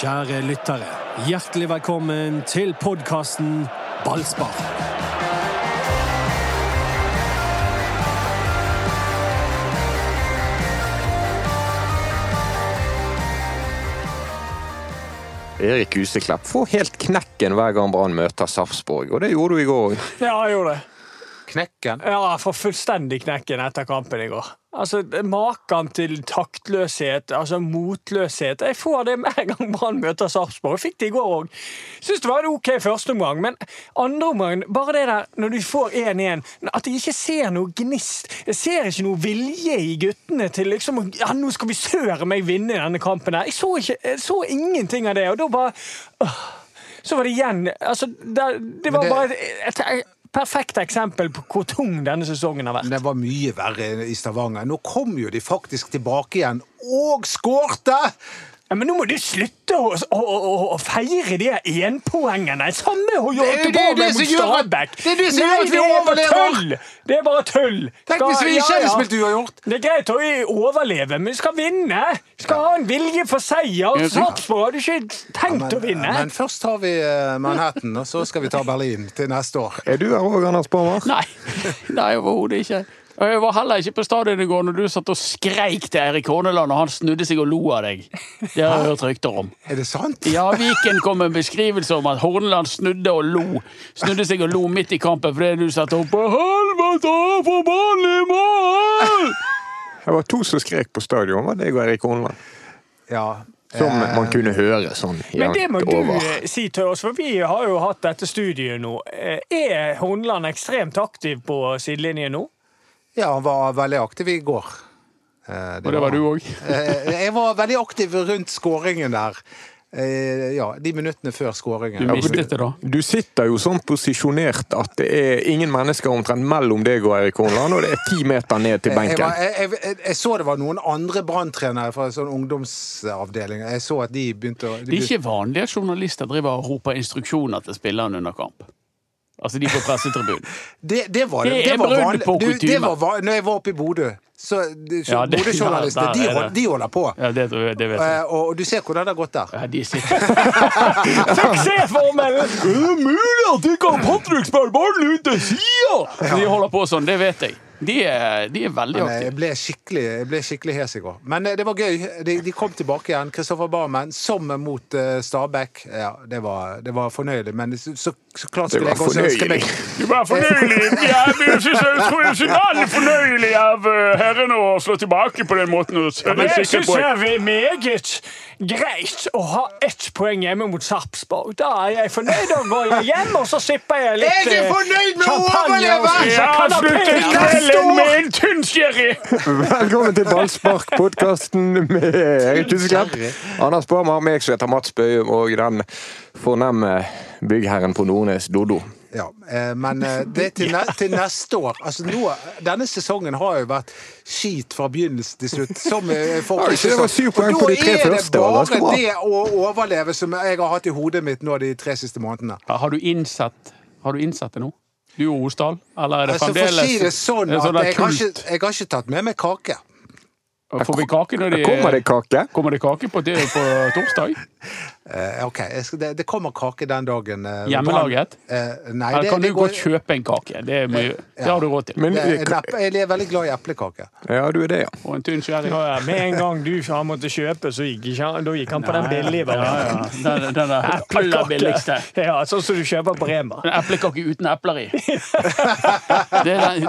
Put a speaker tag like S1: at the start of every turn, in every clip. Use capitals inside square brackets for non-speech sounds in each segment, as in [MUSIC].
S1: Kjære lyttere, hjertelig velkommen til podkasten Ballspar.
S2: Erik Huseklepp får helt knekken hver gang Brann møter Sarpsborg, og det gjorde du i går.
S3: Ja, jeg gjorde det.
S2: Knekken?
S3: Ja, jeg får fullstendig knekken etter kampen i går. Altså, Maken til taktløshet, altså motløshet. Jeg får det med en gang Brann møter Sarpsborg. Jeg fikk det i går òg. Syns det var en OK første omgang, men andre omgang Bare det der når du får 1-1, at jeg ikke ser noe gnist. Jeg ser ikke noe vilje i guttene til liksom å Ja, nå skal vi søren meg vinne denne kampen her. Jeg så, ikke, jeg så ingenting av det, og da bare åh. Så var det igjen altså, det, det var
S4: det-
S3: bare et, et, et perfekt eksempel på hvor tung denne sesongen har vært.
S4: Det var mye verre i Stavanger. Nå kom jo de faktisk tilbake igjen og skårte!
S3: Ja, men nå må du slutte å, å, å, å feire de her enpoengene! Samme hun
S4: er jo
S3: gjorde
S4: det- det er
S3: tilbake
S4: det som
S3: mot
S4: gjør at-
S3: Stabæk!
S4: det er det som
S3: Nei,
S4: gjør at vi
S3: det er bare
S4: overlever.
S3: tull! Det er bare tull!
S4: Tenk hvis
S3: Skal-
S4: vi
S3: ja,
S4: ikke hadde
S3: ja.
S4: spilt uavgjort!
S3: Det er greit å overleve, men vi skal vinne! Vi skal ha en vilje for seier!
S4: Ja, så-
S3: Sarpsborg hadde ikke tenkt å vinne!
S4: men først har vi eh, Manhattan, og så skal vi ta Berlin til neste år.
S2: Er du her òg, Anders Barmer?
S5: Nei, nei overhodet ikke. Og jeg var heller ikke på stadion i går når du satt og skreik til Eirik Horneland, og han snudde seg og lo av deg. Det har jeg hørt rykter om.
S4: Er det sant?
S5: I Viken kom en beskrivelse om at Horneland snudde og lo. Snudde seg og lo midt i kampen fordi du satte opp på Helvete, for ballen i mål!
S2: Det var to som skrek på stadion, var deg og Erik Horneland.
S4: Ja.
S2: Som
S4: Eh,
S2: man kunne høre sånn
S3: Men det må
S2: jevnt
S3: du
S2: over.
S3: eh, si til oss, for vi har jo hatt dette studiet nå. Eh, Er Hornland ekstremt aktiv på sidelinjen nå?
S4: Ja, han var veldig aktiv i går. Eh,
S5: Og det var du òg.
S4: Eh, Jeg var veldig aktiv rundt skåringen der. Eh, Ja, de minuttene før skåringen.
S5: Du mistet det, da.
S2: Du sitter jo sånn posisjonert at det er ingen mennesker omtrent mellom deg og Erik Horneland, og det er ti meter ned til
S4: Jeg, var,
S2: benken.
S4: jeg, jeg, jeg- jeg så det var noen andre branntrenere fra sånn ungdomsavdeling. Jeg så at de begynte å de
S5: Det er
S4: begynte-
S5: ikke vanlig at journalister driver og roper instruksjoner til spillerne under kamp. Altså de på pressetribunen.
S4: det, det var det.
S5: Det er
S4: det var
S5: brudd
S4: vanlig.
S5: på
S4: Du, det
S5: kutyme.
S4: var, van- når jeg var oppe i Bodø, så de- så
S5: Ja, det-
S4: Bodø-journalister,
S5: [LAUGHS] ja, der
S4: de,
S5: er
S4: hold-
S5: det.
S4: de holder på.
S5: Ja, det, det vet jeg.
S4: Eh, Og, og du ser hvordan det har gått der.
S5: Ja, de [LAUGHS] sitter
S3: Suksessformelen!
S5: [LAUGHS] Er det mulig at ikke han Patrick spiller ballen ut til sida?! De holder på sånn, det vet jeg. De er, de er veldig
S4: Men jeg
S5: aktive.
S4: ble skikkelig, jeg ble skikkelig hes i går. Men eh, det var gøy. De, de kom tilbake igjen. Kristoffer Barmen som mot eh, Stabæk. Ja, det var, det var fornøyelig. Men så, så så klart
S2: Det
S4: skulle
S2: var
S4: jeg også ønske
S2: fornøyelig.
S4: meg
S5: Du var fornøyelig! Jeg er ikke all fornøyelig av herrene å slå tilbake på den måten.
S3: Jeg syns vi er meget greit å ha ett poeng hjemme mot Sarpsborg. Da er jeg fornøyd. Da går jeg hjem, og så sipper jeg litt
S4: Er du
S3: eh,
S4: fornøyd med å
S3: champagne
S4: overleve?
S3: og spiser
S4: Ja,
S3: kanapé.
S4: slutt
S3: Neste
S4: å kvelden
S3: år!
S5: en tynn sherry!
S2: Velkommen til Ballspark-podkasten med Erik Huseklepp. Anders Barmer, meg som heter Mats Bøum, og den fornemme byggherren på Nordnes, Doddo.
S4: Ja, eh, men eh, det er til, ne til neste år. Altså nå, Denne sesongen har jo vært skit fra begynnelse til slutt. Som eh, folk
S2: Ja, ikke det var
S4: så-
S2: syv poeng
S4: Og
S2: på
S4: da
S2: de tre
S4: er det
S2: første, og det skal
S4: bare
S2: bra.
S4: det å overleve som jeg har hatt i hodet mitt nå de tre siste månedene.
S5: Har du innsett, har du innsett det nå? Du og Osdal? Eller er det
S4: Altså, for å
S5: fremdeles
S4: si det sånn
S5: en
S4: at
S5: der
S4: jeg har,
S5: kult?
S4: ikke, jeg har ikke tatt med meg kake.
S5: Får vi kake når de
S2: Kommer det kake?
S5: Kommer det kake på, det på
S4: [LAUGHS]
S5: torsdag?
S4: Eh, ok, jeg skal, det, det kommer kake den dagen. eh,
S5: Hjemmelaget?
S4: Brann- Eh, nei,
S5: Eller
S4: det,
S5: kan
S4: det
S5: du
S4: går-
S5: godt kjøpe en kake? Det, må, jo- det har du råd til.
S2: Men, eh,
S4: Det er neppe- Jeg er veldig glad i eplekake.
S2: ja, du er det, ja.
S5: Og en tynn sherry.
S3: Ja, ja, Med en gang du han måtte kjøpe, så gikk ikke han, da gikk han på den billige varianten.
S5: Ja, ja. Den, den er aller billigste.
S3: Ja, sånn som du kjøper på Rema.
S5: En eplekake uten epler
S4: [LAUGHS]
S5: i. Det er, den-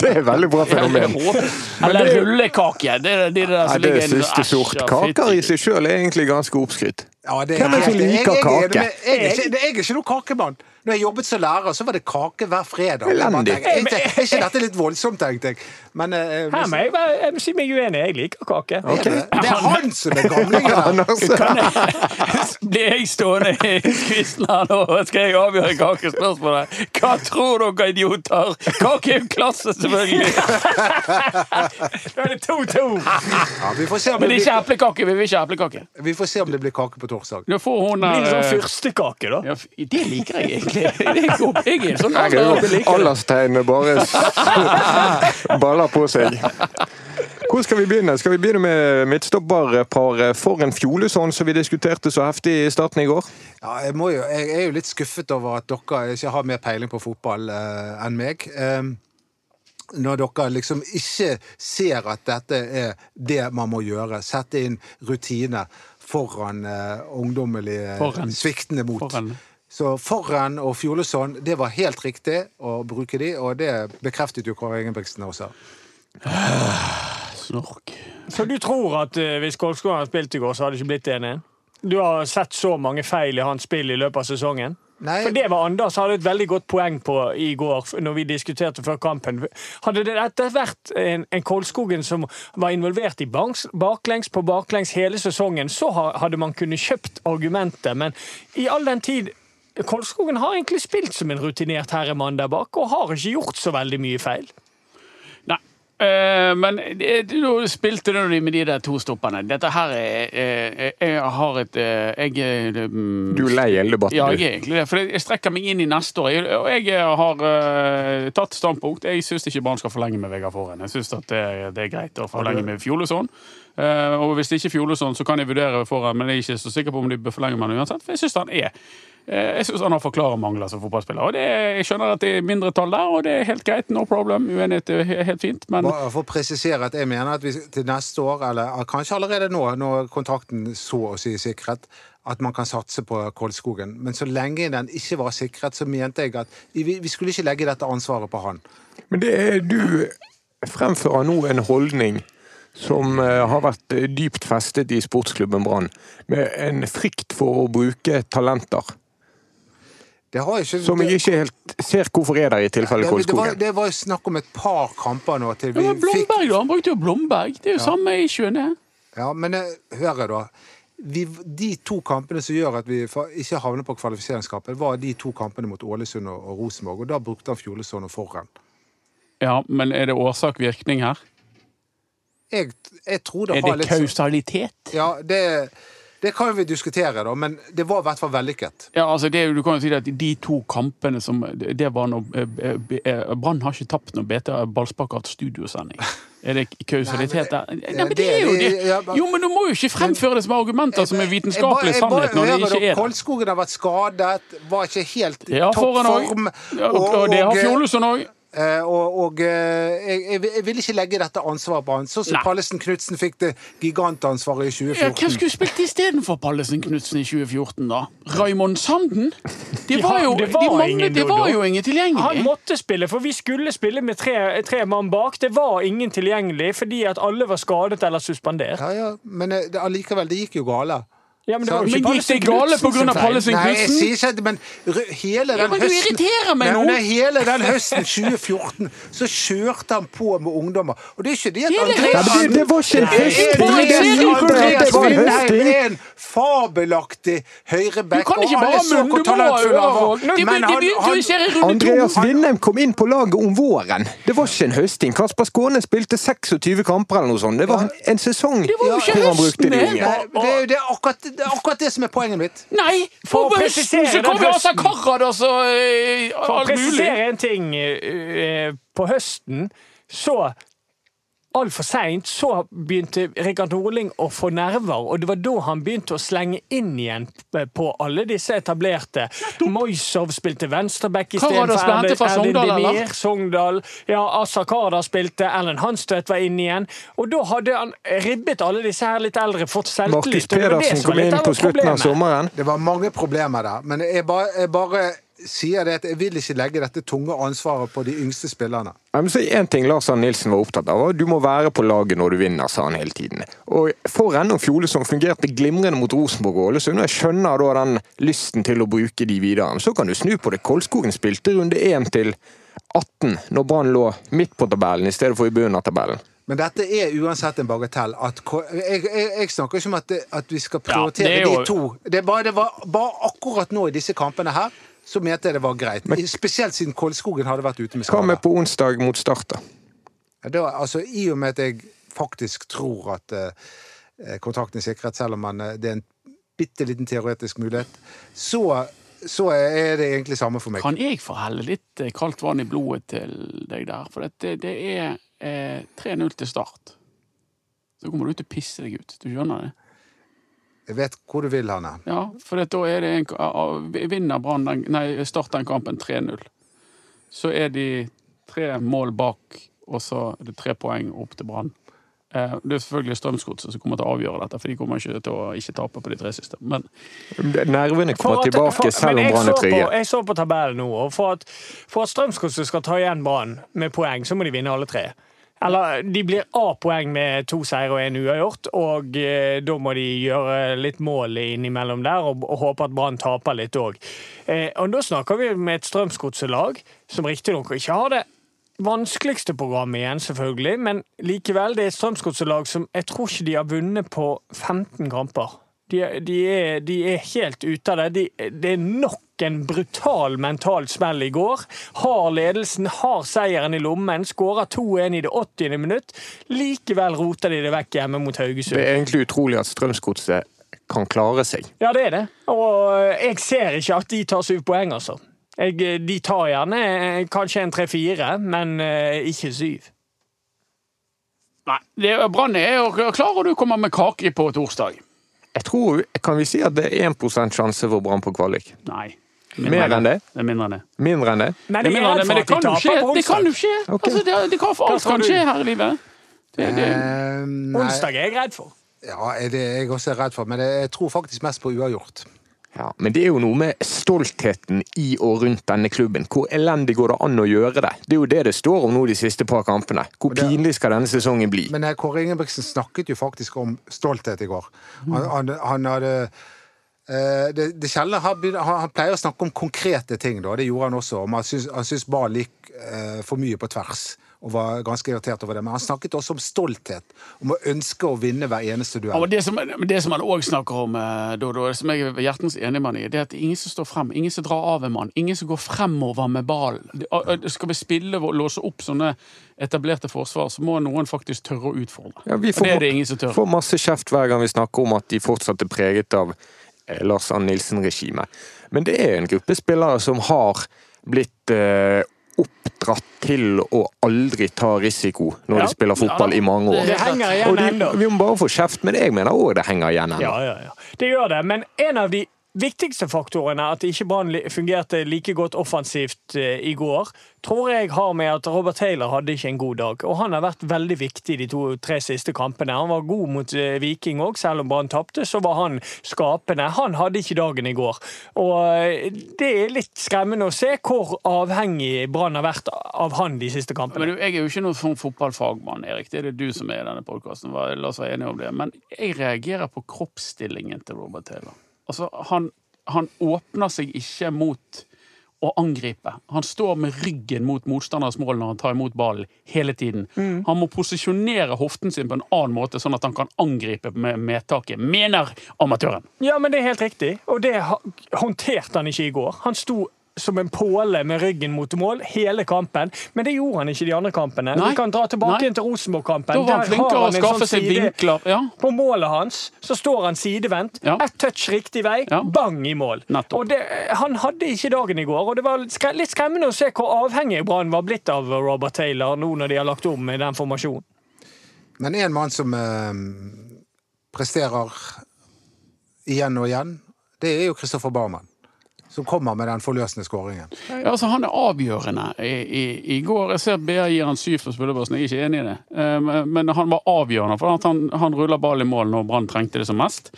S2: [LAUGHS] Det er veldig bra
S5: ja, det er
S2: fenomen.
S5: håp. Eller rullekake. Det er de der
S2: Nei,
S5: som
S2: det
S5: ligger i en-
S2: siste
S5: Æsj,
S2: sort.
S5: ja,
S2: Kaker i
S5: fytti.
S2: seg sjøl er egentlig ganske oppskrytt.
S4: Ja, det
S2: Hvem er det som
S4: helt- jeg-
S2: liker
S4: jeg- jeg er
S2: kake?
S4: med- Jeg, er ikke- jeg er ikke noen kakemann. Når jeg jobbet som lærer, så var det kake hver fredag. Jeg bare
S2: Elendig.
S4: tenkte, Er ikke, er ikke dette litt voldsomt, tenkte jeg. Men eh,
S3: Her
S4: hvis-
S3: må jeg, være- jeg må si meg uenig. Jeg liker kake.
S2: Ok.
S4: det er han som er
S2: [LAUGHS]
S4: gamlingen. der.
S2: Anders,
S5: Blir jeg stående i kvisten her nå? Skal jeg avgjøre kakespørsmålet? Hva tror dere, idioter? Kake er jo klasse, selvfølgelig.
S3: Da er det
S5: [LAUGHS]
S3: 2-2.
S4: Ja, vi, får se om det
S5: Men ikke
S4: blir,
S5: eplekake. Vi vil ikke eplekake.
S4: vi får se om det blir kake på torsdag.
S5: Da får hun
S3: Blir det sånn
S5: eh,
S3: fyrstekake, da?
S5: ja, f- Det liker jeg egentlig. Det er god- Jeg er en sånn
S2: Jeg er jo
S5: liker det.
S2: [LAUGHS] Alderstegnet bare s- baller på seg. Hvor skal vi begynne? Skal vi begynne med midtstopperparet foran Fjolesson, som vi diskuterte så heftig i starten i går?
S4: Ja, jeg, må jo, jeg er jo litt skuffet over at dere ikke har mer peiling på fotball eh, enn meg. Ehm, når dere liksom ikke ser at dette er det man må gjøre. Sette inn rutine foran eh, ungdommelig eh,
S5: Foran.
S4: sviktende mot.
S5: Foran.
S4: Så foran og Fjolesson, det var helt riktig å bruke de, og det bekreftet jo Kåre Ingebrigtsen også.
S5: Snork.
S3: Så du tror at eh, hvis Kolskog hadde spilt i går, så hadde det ikke blitt 1-1? Du har sett så mange feil i hans spill i løpet av sesongen.
S4: Nei.
S3: For det var Anders hadde et veldig godt poeng på i går, f- når vi diskuterte før kampen. Hadde det dette vært en, en Kolskogen som var involvert i banks, baklengs på baklengs hele sesongen, så ha- hadde man kunnet kjøpt argumentet, men i all den tid Kolskogen har egentlig spilt som en rutinert herremann der bak, og har ikke gjort så veldig mye feil.
S5: Nei. Eh, men eh, nå spilte du med de der to stoppene. Dette her er eh, Jeg har et eh, Jeg er mm,
S2: Du er lei hele debatten.
S5: Ja,
S2: du.
S5: jeg er egentlig det. For jeg strekker meg inn i neste år. Jeg- Og jeg har eh, tatt standpunkt. Jeg syns ikke Brann skal forlenge med Vegard Forhen. Jeg syns at det, det er greit å forlenge med Fjolesson. Eh, og hvis det ikke er Fjolesson, så kan jeg vurdere Forhen, men jeg er ikke så sikker på om de bør forlenge med han uansett. For jeg syns han er eh, jeg synes han har forklare mangler som fotballspiller. Og det, er- Jeg skjønner at det er mindretall der, og det er helt greit. No problem. Uenighet er he- helt fint. Men
S4: Bare for å presisere at jeg mener at vi til neste år, eller kanskje allerede nå, når kontrakten så å si er sikret, at man kan satse på Kolskogen. Men så lenge den ikke var sikret, så mente jeg at vi, vi skulle ikke legge dette ansvaret på han.
S2: Men det er du fremfører nå en holdning som eh, har vært eh, dypt festet i sportsklubben Brann, med en frykt for å bruke talenter.
S4: Det har ikke
S2: Som jeg ikke helt ser hvorfor er der i tilfellet
S4: det, det, var,
S2: Kolskogen.
S4: det var jo snakk om et par kamper nå til
S5: ja,
S4: vi
S5: men
S4: fikk
S5: Blomberg, da. Han brukte jo Blomberg. Det er jo samme i skjønne.
S4: Ja, men eh, hør her, da. Vi, de to kampene som gjør at vi fa- ikke havner på kvalifiseringskampen, var de to kampene mot Ålesund og, og Rosenborg, og da brukte han Fjolesson og Forhen.
S5: Ja, men er det årsak-virkning her?
S4: Jeg, jeg tror det
S5: Er
S4: har
S5: det
S4: litt sånn-
S5: kausalitet?
S4: Ja, det, det kan vi diskutere, da, men det var i hvert fall vellykket.
S5: Ja, altså det, er jo- Du kan jo si det at de to kampene som det var når, eh, eh, Brann har ikke tapt når BT Ballspark har hatt studiosending. Er det kausalitet der? Nei, men det er jo
S4: ja,
S5: det!
S4: men-
S5: Jo, men du må jo ikke fremføre det som argumenter som er vitenskapelig
S4: Jeg bare- jeg bare
S5: sannhet, når det
S4: hører
S5: ikke
S4: da,
S5: er det.
S4: Kolskogen har vært skadet, var ikke helt i
S5: Ja,
S4: topp
S5: foran
S4: form.
S5: òg. Ja, og, og det har Fjolesund òg.
S4: eh, Og, og eh, jeg, jeg- jeg vil ikke legge dette ansvaret på han. Sånn som
S5: Nei.
S4: Pallesen Knutsen fikk det gigantansvaret i
S5: Ja, hvem
S4: 2014.
S5: skulle spilt istedenfor Pallesen Knutsen i 2014, da? Raymond Sanden? Det var
S3: Ja,
S5: jo,
S3: det var
S5: de
S3: ingen
S5: manglet, det var
S3: da.
S5: jo ingen
S3: Han
S5: tilgjengelig.
S3: måtte spille, for vi skulle spille med tre, tre mann bak. Det var ingen tilgjengelig fordi at alle var skadet eller suspendert.
S4: Ja, ja, men eh, det- allikevel, det gikk jo gale.
S3: Ja, men det var jo
S4: Men
S3: ikke
S5: gikk
S3: Pallesen
S5: det gale på grunn av
S3: Knudsen sin feil.
S5: Pallesen
S4: Nei, jeg
S5: Knudsen?
S4: sier ikke det, men r- hele den
S5: Ja, men du
S4: høsten
S5: irriterer meg
S4: Nei,
S5: nå.
S4: men Hele den høsten 2014 så kjørte han på med ungdommer. Og det er ikke det at
S5: Hele
S4: André
S5: høsten?
S2: Nei, men det- det var ikke en
S4: Nei,
S2: høst.
S4: er
S5: Det var
S4: det at
S5: en
S4: Andreas
S2: høsting.
S4: Vindheim er en fabelaktig
S5: Du
S4: høyreback,
S5: kan ikke bare ha munn, du må ha ører òg. De prioriterer runde to.
S2: Andreas Vindheim kom inn på laget om våren. Det var ikke en høsting. Kasper Skåne spilte 26 kamper eller noe sånt. Det var en sesong
S5: var jo ikke
S2: hvor han brukte de
S5: høsten,
S2: unge.
S5: det.
S4: Nei, det er jo det, er akkurat, det er akkurat det som er poenget mitt.
S5: Nei,
S3: For
S5: for
S3: å
S5: på
S3: presisere
S5: høsten så
S3: den
S5: kommer jo altså
S3: høsten.
S5: Karadas og eh,
S3: For å
S5: alt mulig.
S3: presisere en ting eh, eh, På høsten så Altfor seint så begynte Rikard Norling å få nerver, og det var da han begynte å slenge inn igjen på alle disse etablerte. Moisov spilte venstreback
S5: Karadas ble hentet fra
S3: Erdin
S5: Sogndal,
S3: Demir,
S5: eller?
S3: Sogndal. Ja, Asa Kardar spilte, Ellen Hanstvedt var inne igjen. Og da hadde han ribbet alle disse her litt eldre, fått
S2: Markus
S3: selvtillit. og det var det
S2: Pedersen
S3: som var
S2: kom
S3: litt
S2: inn
S3: av
S2: på slutten av
S3: problemet.
S2: sommeren.
S4: Det var mange problemer der, men jeg bare, jeg bare sier det at jeg vil ikke legge dette tunge ansvaret på de yngste spillerne.
S2: Ja, men så En ting Lars Arne Nilsen var opptatt av, var at du må være på laget når du vinner, sa han hele tiden. Og Foran og Fjole, som fungerte glimrende mot Rosenborg og Ålesund, og jeg skjønner da den lysten til å bruke de videre. Men så kan du snu på det. Kolskogen spilte runde 1 til 18, når Brann lå midt på tabellen i stedet for i bunnen av tabellen.
S4: Men dette er uansett en bagatell. At, ko- jeg, jeg, jeg snakker ikke om at, det, at vi skal
S5: Ja,
S4: prioritere
S5: det er jo-
S4: de to. Det, er bare, det var bare akkurat nå i disse kampene her, så mente jeg det var greit. I- Spesielt siden Kolskogen hadde vært ute med
S2: Hva
S4: skade.
S2: med på onsdag mot Start, da?
S4: Ja, Da, altså, I og med at jeg faktisk tror at eh, kontrakten er sikret, selv om man, eh, det er en bitte liten teoretisk mulighet, så, så er det egentlig samme for meg.
S5: Kan jeg få helle litt eh, kaldt vann i blodet til deg der? For at det, det er eh, 3-0 til start. så kommer du til å pisse deg ut. Du skjønner det?
S4: Jeg vet hvor du vil, Hanne.
S5: Ja, for det, da er det en, a- a- Vinner Brann den- Nei, Start den kampen 3-0, så er de tre mål bak, og så er det tre poeng opp til Brann. Eh, Det er selvfølgelig Strømsgodset som kommer til å avgjøre dette, for de kommer ikke til å ikke tape på de tre siste. Men
S2: Nervene
S3: For
S2: kommer
S3: at- for-
S2: tilbake selv
S3: men
S2: om
S3: jeg
S2: Brann
S3: så
S2: er trygge.
S3: på- Jeg så på tabellen nå, og for at, for at Strømsgodset skal ta igjen Brann med poeng, så må de vinne alle tre. Eller de blir A-poeng med to seire og én uavgjort, og eh, da må de gjøre litt mål innimellom der og, og håpe at Brann taper litt òg. Eh, og da snakker vi med et Strømsgodset-lag som riktignok ikke har det vanskeligste programmet igjen, selvfølgelig, men likevel, det er et Strømsgodset-lag som jeg tror ikke de har vunnet på 15 kamper. De, er- de, er, de er helt ute av det. De, det er nok en brutal mental smell i går. Har ledelsen, har seieren i lommen, skårer 2-1 i det 80. minutt. Likevel roter de det vekk hjemme mot
S2: Det
S3: Haugesund.
S2: er egentlig utrolig at Strømsgodset kan klare seg.
S3: Ja, det er det. Og eh, jeg ser ikke at de tar syv poeng, altså. Jeg, de tar gjerne eh, kanskje en tre-fire, men eh, ikke syv.
S5: Nei, det er- Brann er jo klar, og du kommer med kake på torsdag.
S2: Jeg tror, Kan vi si at det er 1 sjanse for Brann på kvalik?
S5: Nei.
S2: Mer enn det?
S5: Det er mindre enn det.
S2: Mindre enn det?
S3: Men
S5: Det
S3: jeg er
S5: er mindre enn
S3: redd
S5: det,
S3: for
S5: men det
S3: at de
S5: kan jo
S3: taper på
S5: skje! Det kan jo
S3: onsdag.
S5: skje.
S2: Ok.
S5: Altså, det, det kan, for alt
S3: tror
S5: kan
S3: du?
S5: skje her i livet. Det, det,
S4: Eh, nei,
S3: Onsdag er jeg redd for.
S4: ja, er det jeg også er redd for, men jeg tror faktisk mest på uavgjort.
S2: Ja, Men det er jo noe med stoltheten i og rundt denne klubben. Hvor elendig går det an å gjøre det? Det er jo det det står om nå de siste par kampene. Hvor pinlig skal denne sesongen bli?
S4: Men eh, Kåre Ingebrigtsen snakket jo faktisk om stolthet i går. Han, han, han hadde eh, det, det sjeldne han, begynner- han, han pleier å snakke om konkrete ting, da. Det gjorde han også. Om han syns- han syns Brann gikk eh, for mye på tvers, og var ganske irritert over det. Men han snakket også om stolthet, om å ønske å vinne hver eneste
S5: Ja,
S4: duell.
S5: men det som, men det som han òg snakker om, eh, Dodo, som jeg er hjertens enig med han i, det er at det er ingen som står frem. Ingen som drar av en mann. Ingen som går fremover med ballen. Det- og- og Skal vi spille og låse opp sånne etablerte forsvar, så må noen faktisk tørre å utfordre.
S2: Ja, vi
S5: Og det er det ingen som tør.
S2: får masse kjeft hver gang vi snakker om at de fortsatt er preget av eh, Lars Ann Nilsen-regimet. Men det er en gruppe spillere som har blitt eh, oppdratt til å aldri ta risiko når
S3: Ja.
S2: de spiller fotball
S5: Ja,
S2: i mange år.
S3: Det henger
S2: Og
S3: igjen
S2: de,
S3: ennå.
S2: vi må bare få kjeft, men jeg mener òg det henger igjen ennå.
S3: Ja, ja, ja. Det gjør det. Men en av de viktigste faktorene, at ikke Brann li- fungerte like godt offensivt eh, i går, tror jeg har med at Robert Taylor hadde ikke en god dag. Og han har vært veldig viktig de to-tre siste kampene. Han var god mot eh, Viking òg, selv om Brann tapte, så var han skapende. Han hadde ikke dagen i går. Og eh, det er litt skremmende å se hvor avhengig Brann har vært av han de siste
S5: Men
S3: kampene.
S5: du, jeg er jo ikke noen sånn fotballfagmann, Erik. Det er det du som er i denne podkasten. La oss være enige om det. Men jeg reagerer på kroppsstillingen til Robert Taylor. Altså, han, han åpner seg ikke mot å angripe. Han står med ryggen mot motstanders mål når han tar imot ballen hele tiden. Han må posisjonere hoften sin på en annen måte, sånn at han kan angripe med medtaket, mener amatøren.
S3: Ja, men det er helt riktig. Og det ha- håndterte han ikke i går. Han sto som en påle med ryggen mot mål hele kampen, men det gjorde han ikke de andre kampene.
S5: Nei.
S3: Vi kan dra tilbake
S5: Nei.
S3: igjen til Rosenborg-kampen.
S5: Da var han
S3: Der
S5: flinkere å
S3: en
S5: skaffe
S3: sånn
S5: seg
S3: side-
S5: vinkler. Ja.
S3: På målet hans så står han sidevendt.
S5: Ja.
S3: Ett touch riktig vei,
S5: Ja.
S3: bang i mål.
S5: Nettopp.
S3: Og det, eh, Han hadde ikke dagen i går, og det var litt skre- litt skremmende å se hvor avhengig Brann var blitt av Robert Taylor nå når de har lagt om i den formasjonen.
S4: Men en mann som eh, presterer igjen og igjen, det er jo Kristoffer Barmen. Som kommer med den forløsende skåringen.
S5: Ja, altså Han er avgjørende i, i, i går. Jeg ser BA gir han syv for spillebørsen, jeg er ikke enig i det. Eh, men- Men han var avgjørende, for at han, han ruller ball i mål når Brann trengte det som mest.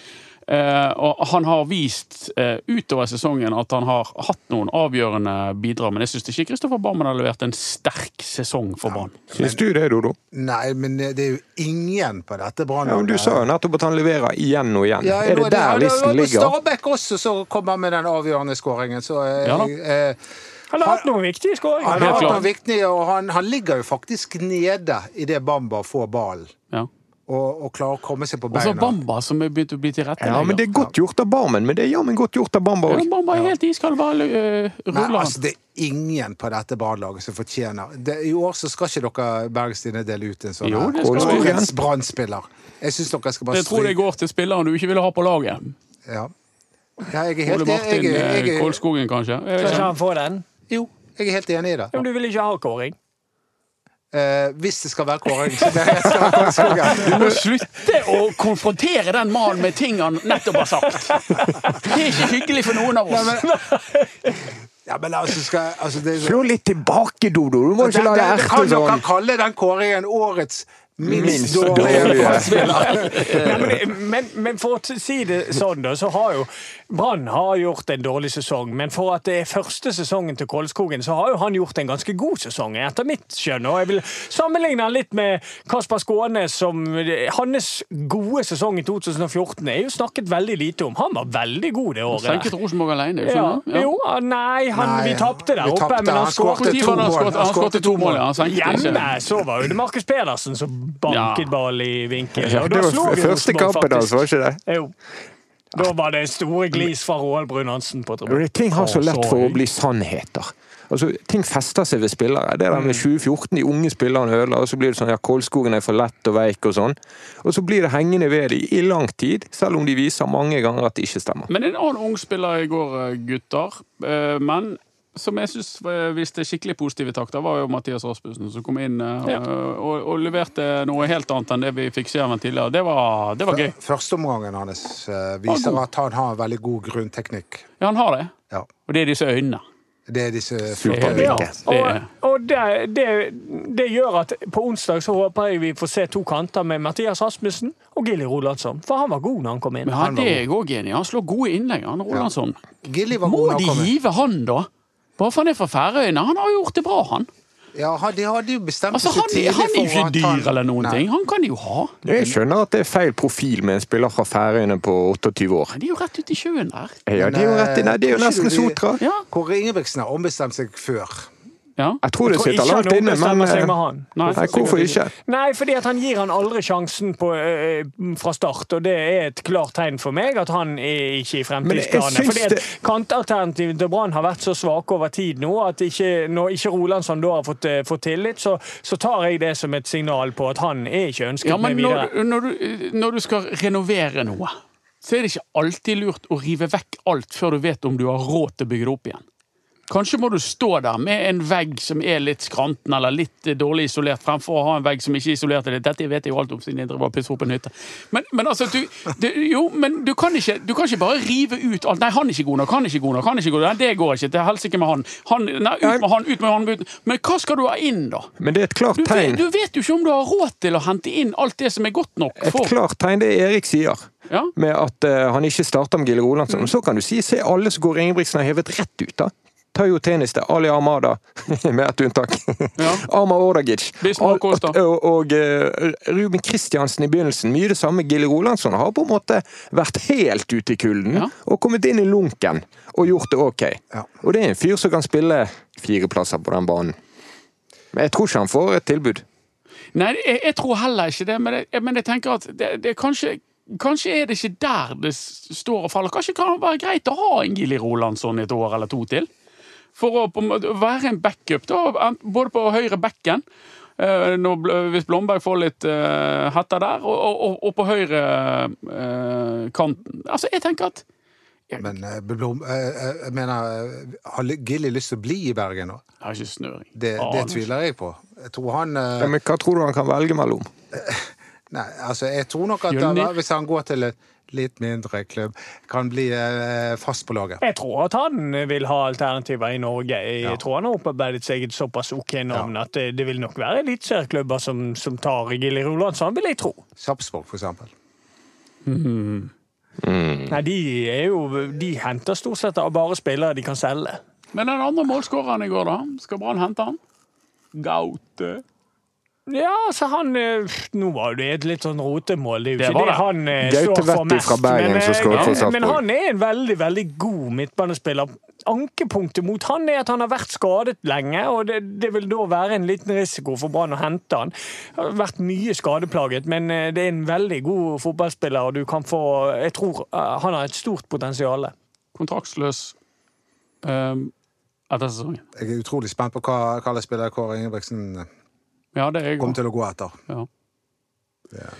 S5: Eh, og han har vist eh, utover sesongen at han har hatt noen avgjørende bidrag, men jeg syns ikke Kristoffer Barmen har levert en sterk sesong for Brann.
S2: Syns du det, Dodo?
S4: Nei, men det det er jo ingen på dette
S2: Ja, men
S4: brannlaget.
S2: Du sa jo nettopp at han leverer igjen og igjen.
S4: Ja,
S2: er
S4: nå
S2: det der listen ligger?
S4: Stabæk også som kommer med den avgjørende skåringen. Så eh,
S5: Ja da.
S4: eh,
S3: Han har hatt noen viktige
S4: han
S3: skåringer.
S5: Helt
S4: har
S5: klart.
S4: noe viktig, og han, han ligger jo faktisk nede idet Bamba får ballen.
S5: Ja.
S4: Og, og klarer å komme seg på
S5: Og så
S4: beina.
S5: Bamba, som er begynt å bli tilrettelegger.
S2: Ja, men Det er godt gjort av Barmen, men det er jammen godt gjort av Bamba
S5: Ja,
S2: òg.
S5: Bamba er helt iskald, bare eh,
S4: Nei,
S5: ruller
S4: altså,
S5: han.
S4: det er ingen på dette brannlaget som fortjener det, I år så skal ikke dere Bergstine dele ut en sånn
S5: Jo, det skal
S4: her
S5: vi.
S4: årets Brann-spiller. Jeg syns dere skal bare
S5: Jeg tror det går til spilleren du ikke ville ha på laget.
S4: Ja. Ja, jeg er
S5: Ole
S4: helt, jeg,
S5: Martin
S4: jeg,
S5: eh,
S4: jeg, jeg,
S5: Kolskogen, kanskje. Jeg
S3: Skal
S5: vet ikke.
S3: ikke han få den?
S4: jo, jeg er helt enig i det.
S3: Men du vil ikke ha kåring?
S4: eh, hvis det skal være kåring. Så det skal være Kåre Skogen.
S5: Du må slutte å konfrontere den mannen med ting han nettopp har sagt. Det er ikke hyggelig for noen av oss.
S4: Ja, men altså, skal, altså det,
S2: Slå litt tilbake, Dodo. Du må
S4: det,
S2: ikke la deg
S4: det,
S2: erte
S4: altså, kan dere
S2: sånn.
S4: kalle den kåringen årets minst,
S2: Minst
S4: dårlige
S2: dårlige.
S3: [LAUGHS] Nei, men, det- men, men for å si det sånn, da, så har jo Brann har gjort en dårlig sesong. Men for at det er første sesongen til Kolskogen, så har jo han gjort en ganske god sesong, etter mitt skjønn. Og jeg vil sammenligne han litt med Kasper Skånes, som Hans gode sesong i 2014 er jo snakket veldig lite om. Han var veldig god det året.
S5: Senket Rosenborg alene, er det
S3: Ja,
S5: ikke sånn?
S3: jo, nei, han,
S4: Nei,
S3: vi tapte der
S4: vi
S3: oppe,
S4: tapte,
S3: men han
S4: han skåret.
S3: skåret
S5: Når var det
S4: To
S5: han
S4: mål.
S5: skåret? Han skåret to mål, ja. Han senket ikke.
S3: Hjemme så var jo det Markus Pedersen som banket
S5: Ja.
S3: ball i vinkel.
S2: Ja,
S3: Og
S2: det
S3: da slo
S2: var
S3: vi
S2: første
S3: Rosenborg,
S2: kampen
S3: faktisk.
S2: hans, var ikke det?
S3: Jo. Da var det store glis fra Roald Brun-Hansen på
S2: Men
S3: tribunen.
S2: det- Ting har så
S3: Å,
S2: lett for å
S3: høy.
S2: bli sannheter. Altså, ting fester seg ved spillere. Det der med
S4: Mm.
S2: 2014, de unge spillerne ødela, og så blir det sånn ja, Kolskogen er for lett og veik og sånn. Og så blir det hengende ved de i lang tid, selv om de viser mange ganger at det ikke stemmer.
S5: Men en annen ung spiller i går, gutter. eh, Men som jeg eh, syns viste skikkelig positive takter, var jo Mathias Rasmussen, som kom inn eh,
S3: Ja.
S5: og, og leverte noe helt annet enn det vi fikk se av ham tidligere. Det var, det var gøy.
S4: Førsteomgangen hans eh, viser
S5: Han er god.
S4: at han har en veldig god grunnteknikk.
S5: Ja, han har det.
S4: Ja.
S5: Og det er disse øynene.
S4: Det er disse
S5: Det er-
S3: Ja,
S5: det
S3: og,
S5: er-
S3: og det, det, det gjør at på onsdag så håper jeg vi får se to kanter med Mathias Rasmussen og Gilly Rolandsson. For han var god når han kom inn.
S5: Men han er òg enig. Han slår gode innlegg, han Rolandsson.
S4: Gilly var
S5: Må
S4: god da
S5: de
S4: han kom inn.
S5: give han, da? Bare for han er fra Færøyene. Han har jo gjort det bra, han.
S4: Ja, han- de hadde jo bestemt
S5: Altså,
S4: seg
S5: han,
S4: tidlig
S5: han er jo
S4: for
S5: ikke
S4: at han-
S5: dyr eller noen
S4: Nei.
S5: ting. Han kan de jo ha.
S2: Jeg skjønner at det er feil profil med en spiller fra Færøyene på 28 år.
S5: Men De er jo rett ute i sjøen der.
S2: Ja, det er jo rett i Nei, det er jo nesten Sotra.
S5: Ja.
S4: eh, Kåre Ingebrigtsen har ombestemt seg før.
S5: ja.
S2: Jeg tror det
S3: Jeg tror
S2: sitter
S3: ikke han
S2: langt inne, men
S3: ombestemmer seg med
S2: eh,
S3: han.
S5: Nei,
S2: Nei, hvorfor ikke?
S3: Nei, fordi at han gir han aldri sjansen på, ø, ø, fra start, og det er et klart tegn for meg at han er ikke i
S2: Men jeg
S3: fremtidsplanene.
S2: syns
S3: Fordi at
S2: det-
S3: kantalternativet til Brann har vært så svake over tid nå at ikke, når ikke Rolandsson da har fått, ø, fått tillit, så, så tar jeg det som et signal på at han er ikke ønsket
S5: Ja,
S3: med
S5: men når,
S3: videre.
S5: du- når, du, når du skal renovere noe, så er det ikke alltid lurt å rive vekk alt før du vet om du har råd til å bygge det opp igjen. Kanskje må du stå der med en vegg som er litt skranten eller litt eh, dårlig isolert, fremfor å ha en vegg som ikke er isolert. eller- Dette vet jeg jo alt om siden jeg driver og pisser opp en hytte. Men, men altså, du, du, jo, men du kan, ikke, du kan ikke bare rive ut alt. Nei, han er ikke god nok, han er ikke god nok, han er ikke god nok. Nei, det går ikke. Til helsike med han. han. Nei, ut med han, ut med han. Ut. Men hva skal du ha inn, da?
S2: Men det er et klart
S5: Du, vet-
S2: tegn.
S5: du vet jo ikke om du har råd til å hente inn alt det som er godt nok.
S2: Et
S5: For.
S2: klart tegn, det Erik sier.
S5: Ja.
S2: Med at eh, han ikke starter med Gille Rolandsson. Så kan du si se alle som går Ingebrigtsen har hevet rett ut, da. Tayo Tenis til Ali Armada, [LAUGHS] med ett unntak.
S5: Ja.
S2: Arma Ordagic.
S5: Bismar
S2: Al-
S5: Kosta.
S2: Og, og eh, Ruben Kristiansen i begynnelsen. Mye det samme. Gille Rolandsson har på en måte vært helt ute i kulden.
S5: Ja.
S2: Og kommet inn i lunken og gjort det ok.
S4: Ja.
S2: Og det er en fyr som kan spille fire plasser på den banen. Men jeg tror ikke han får et tilbud.
S5: Nei, jeg, jeg tror heller ikke det, men jeg, men jeg tenker at det, det er kanskje Kanskje er det ikke der det s- står og faller. Kanskje kan det være greit å ha en Gilly Rolandsson et år eller to til? For å på en måte være en backup, da, ent- både på høyre bekken eh, når, Bl- Hvis Blomberg får litt eh, hetter der, og, og- og, og på høyre eh, kanten. Altså, jeg tenker at
S4: Men eh, Blom, eh, eh, jeg mener, eh, har Gilly lyst til å bli i Bergen nå?
S5: Jeg har ikke snøring.
S4: Det, det
S5: Aner ikke.
S4: tviler jeg på. Jeg tror han eh,
S2: Ja, men hva tror du han kan velge mellom?
S4: Nei, altså, jeg tror nok at
S5: Jonny?
S4: da, hvis han går til en litt mindre klubb, kan bli eh, fast på laget.
S3: Jeg tror at han vil ha alternativer i Norge. Jeg tror han har opparbeidet seg et såpass ok navn at eh, det, det vil nok være eliteserieklubber som, som tar Gilly Rolandsson, vil jeg tro.
S4: Sarpsborg, for eksempel.
S3: Nei, de, er jo, de henter stort sett bare spillere de kan selge.
S5: Men den andre målskåreren i går, da? Skal Brann hente han? Gaute.
S3: Ja, så han eh, Nå var det et litt sånn rotemål. Det er jo ikke
S5: Det var
S3: det
S5: det.
S3: han eh,
S2: Gaute
S3: står for
S2: Vetti
S3: mest.
S2: fra Bergen
S3: men, eh,
S2: som skåret for Sarpsborg.
S3: men han er en veldig, veldig god midtbanespiller. Ankepunktet mot han er at han har vært skadet lenge, og det, det vil da være en liten risiko for Brann å hente han. Han har vært mye skadeplaget, men eh, det er en veldig god fotballspiller, og du kan få Jeg tror eh, han har et stort potensial.
S5: Kontraktsløs ehm, etter sesongen.
S4: Jeg er utrolig spent på hva hva slags spiller Kåre Ingebrigtsen
S5: Ja, det er jeg
S4: kommer
S5: òg.
S4: til å gå etter.
S5: Ja.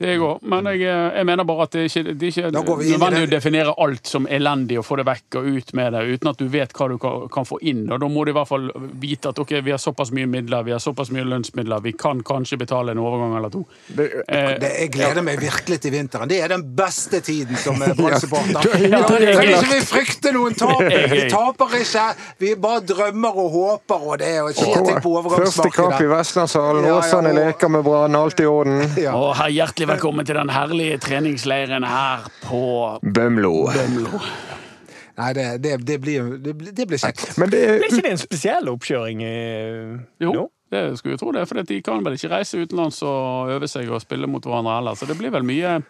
S5: Det går. Men jeg, eh, jeg mener bare at det er ikke, det er ikke
S4: Da går vi inn i
S5: nødvendig å
S4: det.
S5: definere alt som elendig og få det vekk og ut med det, uten at du vet hva du kan, kan få inn. Og da må du i hvert fall vite at ok, vi har såpass mye midler, vi har såpass mye lønnsmidler, vi kan kanskje betale en overgang eller to. Eh,
S4: Det, jeg gleder meg virkelig til vinteren. Det er den beste tiden som eh,
S2: Ja, det er
S4: ballsupporter. Da
S5: helt
S4: trenger
S5: klart.
S4: ikke vi frykte noen tap. Vi
S5: Jeg-
S4: taper ikke. Vi bare drømmer og håper, og det er jo kjeting på
S2: Første kamp i
S4: overgangsmarkedet.
S2: Vestlandshallen.
S4: Ja, ja,
S2: Åsane
S4: og-
S2: leker med Brann, alt i orden.
S4: Ja.
S5: Og hei, hjertelig velkommen til den herlige treningsleiren her på
S2: Bømlo.
S5: Bømlo.
S4: Nei, det, det, det, blir, det, blir, det blir kjekt.
S2: Men det er
S3: Ble ikke det en spesiell oppkjøring? eh,
S5: Jo,
S3: nå?
S5: det skulle jeg tro det, for de kan vel ikke reise utenlands og øve seg og spille mot hverandre heller. Så det blir vel mye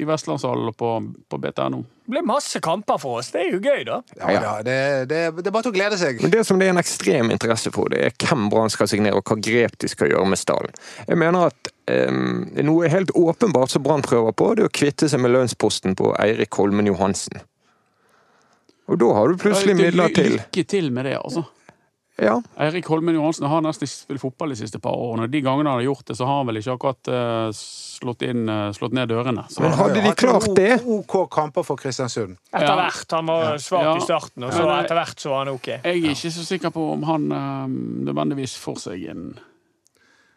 S5: i Vestlandshallen og på, på BTNO.
S3: Det ble masse kamper for oss. Det er jo gøy, da.
S4: Ja, ja. Det, det, det er bare til å glede seg.
S2: Men det som det er en ekstrem interesse for, det er hvem Brann skal signere, og hva grep de skal gjøre med stallen. Jeg mener at em, noe helt åpenbart som Brann prøver på, det er å kvitte seg med lønnsposten på Eirik Holmen Johansen. Og da har du plutselig midler til.
S5: Lykke til med det, altså.
S2: Ja,
S5: Eirik Holmen Johansen har nesten ikke spilt fotball de siste par årene. og De gangene han har gjort det, så har han vel ikke akkurat eh, slått, inn, eh, slått ned dørene. Så
S2: Men hadde de
S4: Hatt noen
S2: klart det?
S4: OK kamper for Kristiansund.
S3: Etter
S5: Ja.
S3: hvert. Han var svak
S5: Ja.
S3: i starten, og så
S5: Men, eh,
S3: etter hvert så var han OK.
S5: jeg er ikke så sikker på om han eh, nødvendigvis får seg en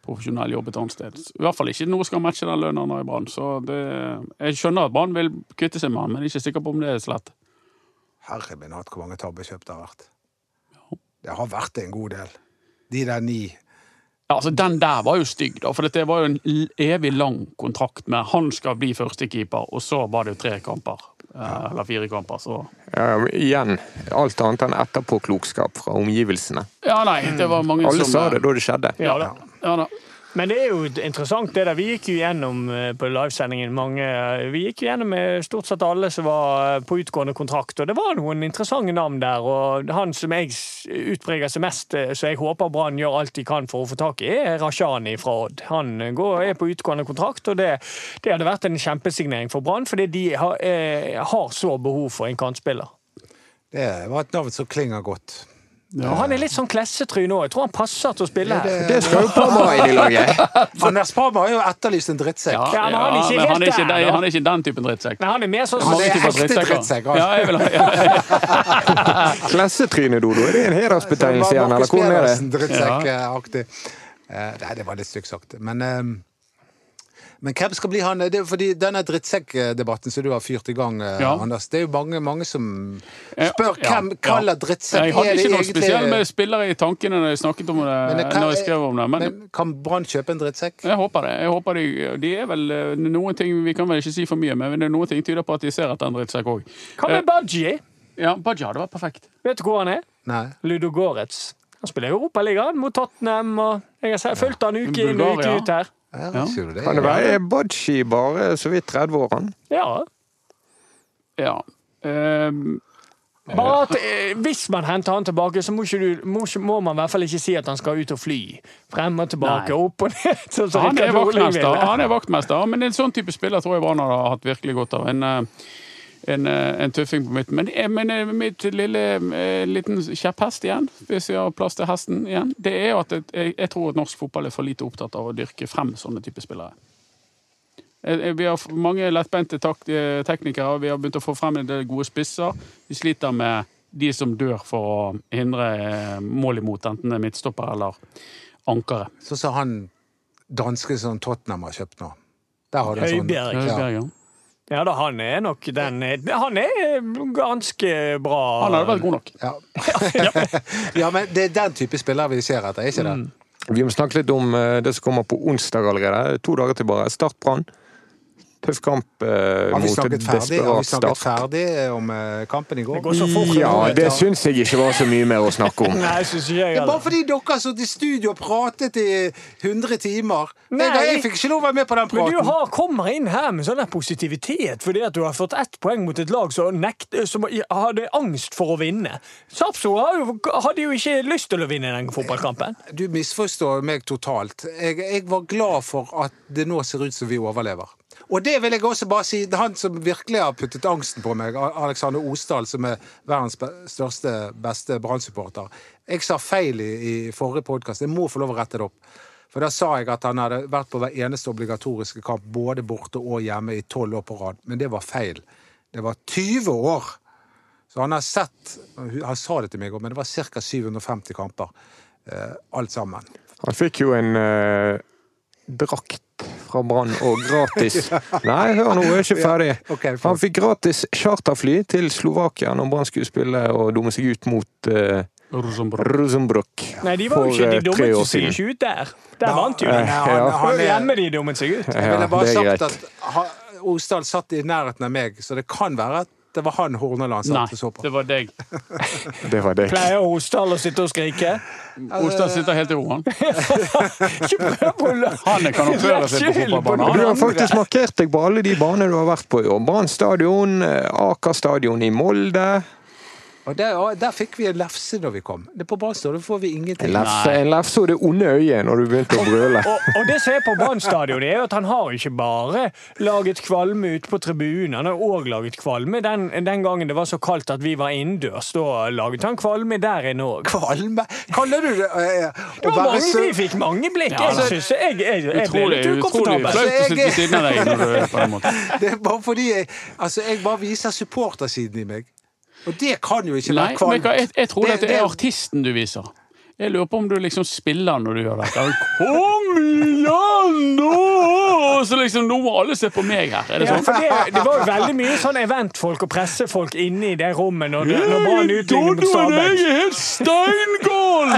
S5: profesjonell jobb et annet sted. I hvert fall ikke nå skal han matche den lønnen han har i Brann. Så det, jeg skjønner at Brann vil kvitte seg med han, men jeg er ikke sikker på om det er så lett.
S4: Herre min hatt, hvor mange tabbekjøp det har vært. Det har vært en god del. De der ni.
S5: Ja, altså Den der var jo stygg, da. For dette var jo en l- evig lang kontrakt med han skal bli førstekeeper, og så var det jo tre kamper. eh, Eller fire kamper, så
S2: ja men igjen. Alt annet enn etterpåklokskap fra omgivelsene.
S5: Ja, nei, det var mange
S2: Alle
S5: som
S2: sa det da det skjedde.
S5: Ja da. Ja, da.
S3: Men det er jo interessant det der. Vi gikk jo gjennom eh, på livesendingen mange eh, Vi gikk jo gjennom eh, stort sett alle som var eh, på utgående kontrakt, og det var noen interessante navn der. Og han som jeg s- utpreger seg mest, eh, så jeg håper Brann gjør alt de kan for å få tak i, er Rashani fra Odd. Han eh, går, er på utgående kontrakt, og det, det hadde vært en kjempesignering for Brann, fordi de har, eh, har så behov for en kantspiller.
S4: Det var et navn som klinger godt.
S3: Og han er litt sånn klessetryn òg. Jeg tror han passer til å spille her.
S2: Det skal jo Parma inn i laget.
S4: [LAUGHS] Anders Parma har jo etterlyst en drittsekk.
S5: Ja,
S3: Ja, men han er ikke
S5: men han er
S3: helt
S5: ikke,
S3: der, da.
S5: han er ikke den typen drittsekk.
S3: Nei, han er mer sånn
S4: Han
S5: Mange
S4: er
S5: typer
S4: ekte drittsekk, altså.
S5: Ja, jeg vil ha, ja,
S2: Klessetryne, Dodo. Er det en hedersbetegnelse igjen, eller
S4: Markus
S2: hvordan er det?
S4: Pedersen, drittsekkaktig. Eh, Nei, det var litt stygt sagt. Men, eh, men hvem skal bli han? Det er jo fordi denne drittsekkdebatten som du har fyrt i gang, eh,
S5: Ja.
S4: Anders, det er jo mange, mange som
S5: Ja,
S4: spør
S5: ja,
S4: hvem kaller drittsekk
S5: Jeg hadde
S4: er det
S5: ikke noe
S4: egentlig?
S5: spesielt med spillere i tankene når jeg snakket om det,
S4: Men det kan-
S5: når jeg skrev om det. Men,
S4: Men kan Brann kjøpe en drittsekk?
S5: jeg håper det. jeg håper de, de er vel eh, noen ting, Vi kan vel ikke si for mye, men det er noen ting tyder på at de ser etter en drittsekk òg.
S3: Hva med Baji?
S5: Ja, Baji hadde vært perfekt.
S3: Vet du hvor han er?
S4: Nei.
S3: Ludogorets. Han spiller i Europaligaen mot Tottenham. og Jeg har se- fulgt han uke inn og uke
S5: Bulgaria.
S3: ut her.
S4: Ja,
S5: Ja.
S4: sier du det?
S2: Kan det være er Badji bare så vidt 30 år, han?
S3: Ja.
S5: Ja. Ehm,
S3: Bare at eh, hvis man henter han tilbake, så må, ikke du, må, ikke, må man i hvert fall ikke si at han skal ut og fly. Frem og tilbake,
S5: Nei.
S3: opp og ned. [LAUGHS] Sånn som
S5: han, er
S3: Rikard Norling
S5: vaktmester,
S3: ville.
S5: han er vaktmester, men en sånn type spiller tror jeg Brann hadde hatt virkelig godt av. En, eh, en, eh, en tøffing på midten. Men, eh, men eh, mitt lille eh, liten kjepphest igjen, hvis jeg har plass til hesten igjen, det er jo at jeg, jeg tror at norsk fotball er for lite opptatt av å dyrke frem sånne type spillere. Eh, eh, Vi har f- mange lettbente tak- eh, teknikere, og vi har begynt å få frem en del gode spisser. Vi sliter med de som dør for å hindre eh, mål imot, enten det er midtstopper eller ankere.
S4: Sånn som han danske som Tottenham har kjøpt nå. Der har du en sånn.
S3: Høibjerg.
S4: Ja.
S5: Høibjerg, ja.
S3: Ja da, han er nok den eh, Han er ganske bra.
S5: Han hadde vært god nok.
S4: Ja. [LAUGHS] ja, men det er den type spillere vi ser etter, ikke det?
S2: Vi må snakke litt om eh, det som kommer på onsdag allerede. To dager til bare. Start Brann. Tøff kamp eh,
S4: Har
S2: mot
S4: vi
S2: et
S4: snakket ferdig, har vi
S2: desperat Start.
S4: snakket ferdig om eh, kampen i går?
S3: går så fort.
S2: Ja,
S3: nå, vet
S2: det
S3: du.
S2: syns jeg ikke var så mye mer å snakke om.
S3: Nei, syns ikke jeg
S4: Det er bare
S3: heller.
S4: fordi dere har sittet i studio og pratet i 100 timer.
S3: Nei.
S4: Jeg, jeg fikk ikke lov å være med på den
S3: Men du
S4: praten.
S3: har, kommer inn her med sånn der positivitet fordi at du har fått ett poeng mot et lag som, nekt, som hadde angst for å vinne. Sapso har jo- hadde jo ikke lyst til å vinne den fotballkampen.
S4: Du misforstår meg totalt. Jeg, jeg var glad for at det nå ser ut som vi overlever. Og det vil jeg også bare si. det er Han som virkelig har puttet angsten på meg, A- Alexander Osdal, som er verdens be- største, beste Brann-supporter. Jeg sa feil i, i forrige podkast. Jeg må få lov å rette det opp. For da sa jeg at han hadde vært på hver eneste obligatoriske kamp, både borte og hjemme, i tolv år på rad. Men det var feil. Det var 20 år! Så han har sett Han sa det til meg òg, men det var ca. 750 kamper. eh, alt sammen.
S2: Han fikk jo en eh, drakt fra Brann, og gratis
S4: [LAUGHS]
S2: Nei, hør nå, jeg er ikke ferdig.
S4: ok, flott.
S2: Han fikk gratis charterfly til Slovakia når Brann skulle spille og dumme seg ut mot eh,
S5: Rosenborg.
S2: Rosenbrück
S3: Nei, de var jo ikke,
S2: eh,
S3: de dummet seg jo ikke ut der. Der vant jo de.
S4: Ja, han,
S2: ja.
S3: Det var
S4: han
S3: jo
S4: er,
S3: hjemme de dummet seg ut.
S4: jeg ville
S2: Ja,
S4: bare
S2: det er
S4: sagt
S2: greit.
S4: at ha- Osdal satt i nærheten av meg, så det kan være at det var han Horneland
S5: Nei,
S4: satt og så på.
S5: det var deg.
S2: Det var deg.
S3: Pleier Osdal å sitte og skrike?
S5: Ostad sitter helt i ro, han.
S3: Ikke prøv å la
S5: Han kan oppføre seg på
S3: Skyld
S5: fotballbanen.
S2: Du har
S3: noen
S2: faktisk
S3: andre.
S2: markert deg på alle de baner du har vært på i år. Brann stadion, eh, Aker stadion i Molde.
S4: Og der, og der fikk vi en lefse når vi kom. Det På Barstad får vi
S2: En
S4: ingenting.
S2: lefse, en lefse og det onde øyet når du begynte å brøle.
S3: Og, og det som er på Brann stadion, er jo at han har jo ikke bare laget kvalme ute på tribunen, han har òg laget kvalme den, den gangen det var så kaldt at vi var innendørs. Da laget han kvalme der inne òg.
S4: Kvalme? Kaller du det eh,
S3: Det
S4: å
S3: var
S4: være
S3: mange,
S4: sø...
S3: vi fikk mange blikk.
S5: Ja,
S3: Jeg,
S5: altså,
S3: synes, jeg, jeg, jeg ble
S5: Utrolig,
S3: litt
S5: utrolig
S3: ukomfortabel.
S5: flaut å sitte ved siden av deg når du er på den måten.
S4: [LAUGHS] Det er bare fordi jeg Altså, jeg bare viser supportersiden i meg. Og det kan jo ikke
S5: Nei,
S4: være
S5: men hva- jeg,
S4: kvalmt.
S5: jeg tror
S4: Det-
S5: det, det er
S4: det-
S5: artisten du viser. Jeg lurer på om du liksom spiller når du gjør dette. Kom igjen nå! Og Så liksom, nå må alle se på meg her. Er det
S3: Ja,
S5: sånn?
S3: for det, det var jo veldig mye sånn eventfolk og pressefolk inne i det rommet når, det- når Brann utlignet mot Stabæk.
S5: er helt steingal!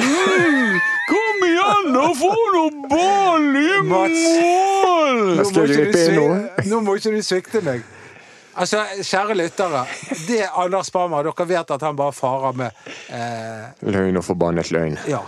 S5: Kom igjen, nå få noe ball i mål!
S4: Nå må
S2: Skal jeg
S4: ikke du
S2: gripe inn
S4: svik-
S2: nå?
S4: Nå må ikke du svikte meg. Altså, kjære lyttere. Det Anders Bammer Dere vet at han bare farer med eh,
S2: [LAUGHS] Løgn og forbannet løgn.
S4: Ja.